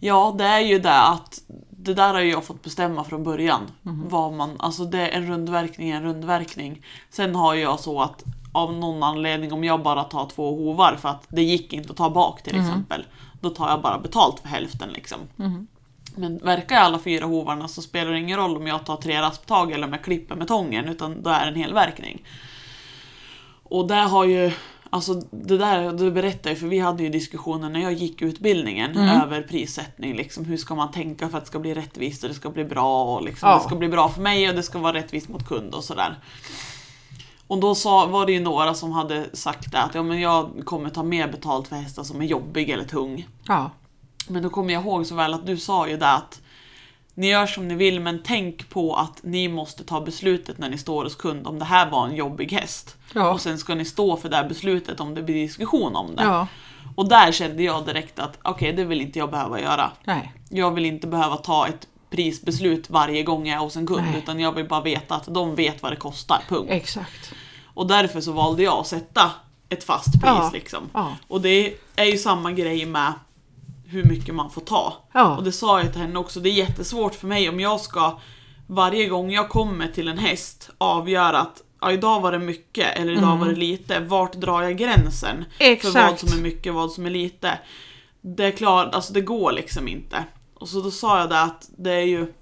S1: Ja, det är ju det att det där har ju jag fått bestämma från början. Vad man, alltså det är en rundverkning är en rundverkning. Sen har ju jag så att av någon anledning, om jag bara tar två hovar för att det gick inte att ta bak till exempel. Då tar jag bara betalt för hälften liksom. Men verkar alla fyra hovarna så spelar det ingen roll om jag tar tre rasptag eller om jag klipper med tången, utan då är det en hel verkning. Och där har ju, alltså det där, du berättar ju, för vi hade ju diskussioner när jag gick utbildningen över prissättning. Liksom, hur ska man tänka för att det ska bli rättvist och det ska bli bra och liksom,
S2: Ja.
S1: det ska bli bra för mig och det ska vara rättvist mot kund och sådär. Och då sa, var det ju några som hade sagt det att ja, men jag kommer ta mer betalt för hästar som är jobbiga eller tung.
S2: Ja.
S1: Men då kommer jag ihåg så väl att du sa ju det att ni gör som ni vill men tänk på att ni måste ta beslutet när ni står hos kund om det här var en jobbig häst.
S2: Ja.
S1: Och sen ska ni stå för det här beslutet om det blir diskussion om det.
S2: Ja.
S1: Och där kände jag direkt att okej, det vill inte jag behöva göra.
S2: Nej.
S1: Jag vill inte behöva ta ett prisbeslut varje gång jag är hos en kund
S2: Nej.
S1: utan jag vill bara veta att de vet vad det kostar, punkt.
S2: Exakt.
S1: Och därför så valde jag att sätta ett fast pris
S2: Ja,
S1: liksom.
S2: ja.
S1: Och det är ju samma grej med hur mycket man får ta.
S2: Ja.
S1: Och det sa jag till henne också, det är jättesvårt för mig om jag ska varje gång jag kommer till en häst avgöra att ja, idag var det mycket eller idag var det lite. Vart drar jag gränsen? För vad
S2: Mm. Exakt.
S1: som är mycket och vad som är lite. Det är klart, alltså det går liksom inte. Och så då sa jag det att det är ju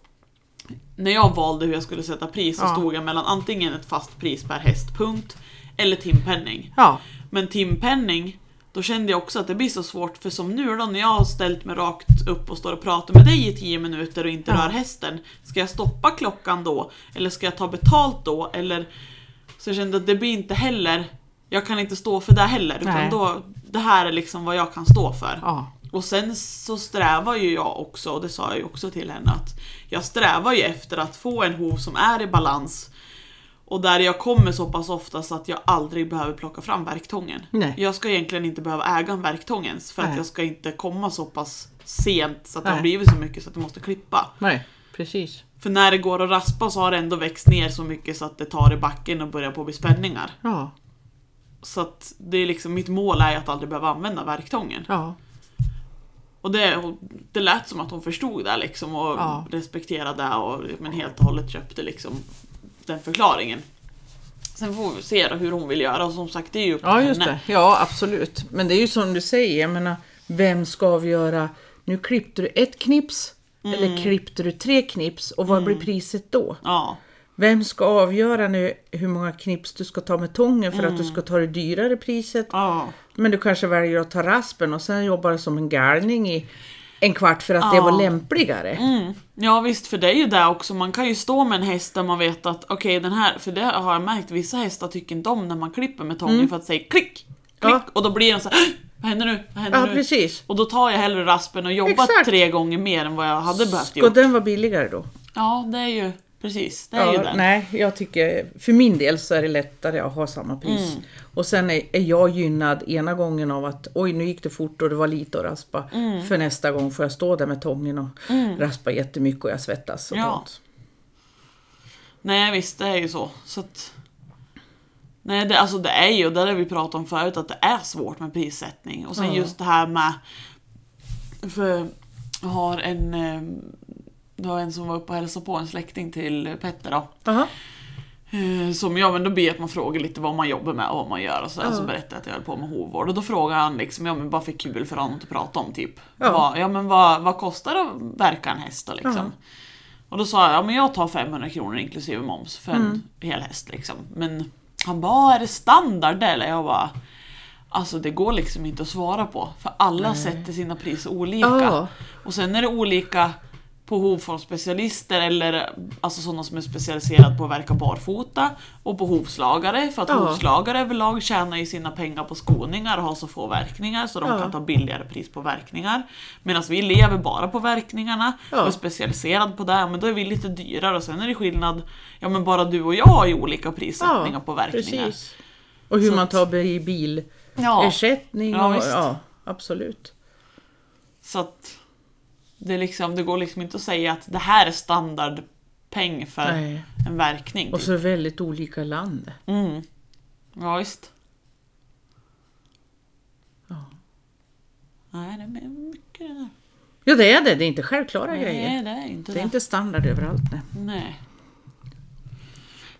S1: när jag valde hur jag skulle sätta pris så
S2: Ja.
S1: stod jag mellan antingen ett fast pris per häst, punkt, eller timpenning.
S2: Ja.
S1: Men timpenning, då kände jag också att det blir så svårt för som nu då när jag har ställt mig rakt upp och står och pratar med dig i 10 minuter och inte
S2: Ja.
S1: rör hästen. Ska jag stoppa klockan då? Eller ska jag ta betalt då? Eller... Så jag kände att det blir inte heller, jag kan inte stå för det heller. Utan
S2: Nej.
S1: då, det här är liksom vad jag kan stå för.
S2: Ja.
S1: Och sen så strävar ju jag också, och det sa jag ju också till henne, att jag strävar ju efter att få en hov som är i balans och där jag kommer så pass ofta så att jag aldrig behöver plocka fram verktången.
S2: Nej.
S1: Jag ska egentligen inte behöva äga en verktång ens för att
S2: Nej.
S1: jag ska inte komma så pass sent så att det har
S2: Nej.
S1: blivit så mycket så att jag måste klippa.
S2: Nej. Precis.
S1: För när det går att raspa så har det ändå växt ner så mycket så att det tar i backen och börjar på att bli spänningar.
S2: Ja.
S1: Så att det är liksom, mitt mål är ju att aldrig behöva använda verktången.
S2: Ja.
S1: Och det, och det lät som att hon förstod det liksom och
S2: Ja.
S1: respekterade det och men helt och hållet köpte liksom den förklaringen. Sen får vi se då hur hon vill göra och som sagt det är ju upp till
S2: Ja, just
S1: henne.
S2: det. Ja, absolut. Men det är ju som du säger, jag menar, vem ska avgöra? Nu klippte du ett knips eller klippte du tre knips och vad blir priset då?
S1: Ja,
S2: Vem ska avgöra nu hur många knips du ska ta med tången för
S1: Mm.
S2: att du ska ta det dyrare priset?
S1: ja,
S2: Men du kanske väljer att ta raspen och sen jobbar du som en galning i en kvart för att det var lämpligare.
S1: Mm. Ja visst, för det är ju det också. Man kan ju stå med en häst där man vet att okej den här, för det har jag märkt, vissa hästar tycker inte om när man klipper med tången för att säga klick, klick
S2: Mm. Ja.
S1: och då blir de så här, vad händer nu? Vad händer
S2: Ja,
S1: nu?
S2: precis.
S1: Och då tar jag hellre raspen och jobbar
S2: Exakt.
S1: tre gånger mer än vad jag hade behövt
S2: Ska
S1: göra.
S2: den vara billigare då?
S1: Ja, det är ju precis, det är ju det.
S2: nej, jag tycker, för min del så är det lättare att ha samma pris.
S1: Mm.
S2: Och sen är, är jag gynnad ena gången av att oj nu gick det fort och det var lite att raspa.
S1: Mm.
S2: För nästa gång får jag stå där med tången och raspa jättemycket och jag svettas. Och
S1: Ja.
S2: sånt.
S1: Nej visst, det är ju så. så att... Nej, det, alltså det är ju, och det har vi pratat om förut, att det är svårt med prissättning. Och sen
S2: Ja.
S1: just det här med... För jag har en... eh, Det var en som var uppe och hälsade på en släkting till Petter då.
S2: Aha.
S1: Eh, Som, ja men då ber jag att man frågar lite vad man jobbar med och vad man gör och sådär.
S2: Ja.
S1: Så berättade jag att jag höll på med hovvård och då frågade han liksom, ja men bara för kul för honom att prata om typ.
S2: Ja.
S1: Vad, ja men vad, vad kostar det att verka en häst då liksom?
S2: Ja.
S1: Och då sa jag, ja men jag tar 500 kronor inklusive moms för
S2: Mm.
S1: en hel häst liksom. Men han bara, "Ah, är det standard eller? Jag bara, alltså det går liksom inte att svara på. För alla sätter sina priser olika.
S2: Ja.
S1: Och sen är det olika på hovformsspecialister eller alltså sådana som är specialiserade på att verka barfota och på hovslagare för att
S2: Ja.
S1: hovslagare överlag tjänar ju sina pengar på skoningar och har så få verkningar så de
S2: Ja.
S1: kan ta billigare pris på verkningar. Medan vi lever bara på verkningarna
S2: Ja.
S1: och är specialiserad på det, men då är vi lite dyrare och sen är det skillnad, ja men bara du och jag har ju olika prissättningar på verkningar.
S2: precis. Och hur
S1: Så
S2: man
S1: att-
S2: tar bi- bilersättning
S1: Ja, Ja,
S2: och
S1: visst.
S2: ja, absolut.
S1: så att det, är liksom, det går liksom inte att säga att det här är standardpeng för
S2: Nej.
S1: en verkning.
S2: Och
S1: typ.
S2: så är det väldigt olika i land.
S1: Mm. Ja, visst.
S2: Ja.
S1: Nej, det är mycket det där.
S2: Ja det är det, det är inte självklara grejer.
S1: Nej, det är inte
S2: Det
S1: det.
S2: är inte standard överallt. Nej.
S1: Nej.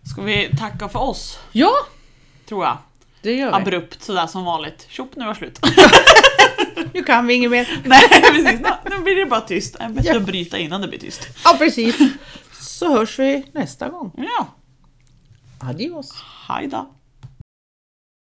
S1: Ska vi tacka för oss,
S2: Ja,
S1: tror jag.
S2: det gör vi.
S1: Abrupt sådär som vanligt. Tjopp, nu var slut.
S2: Nu kan vi inget mer.
S1: Nej, precis. Nu- Nu blir det bara tyst. Det är bättre att bryta innan det blir tyst.
S2: Ja, precis. Så hörs vi nästa gång.
S1: Ja,
S2: Adios.
S1: hej då.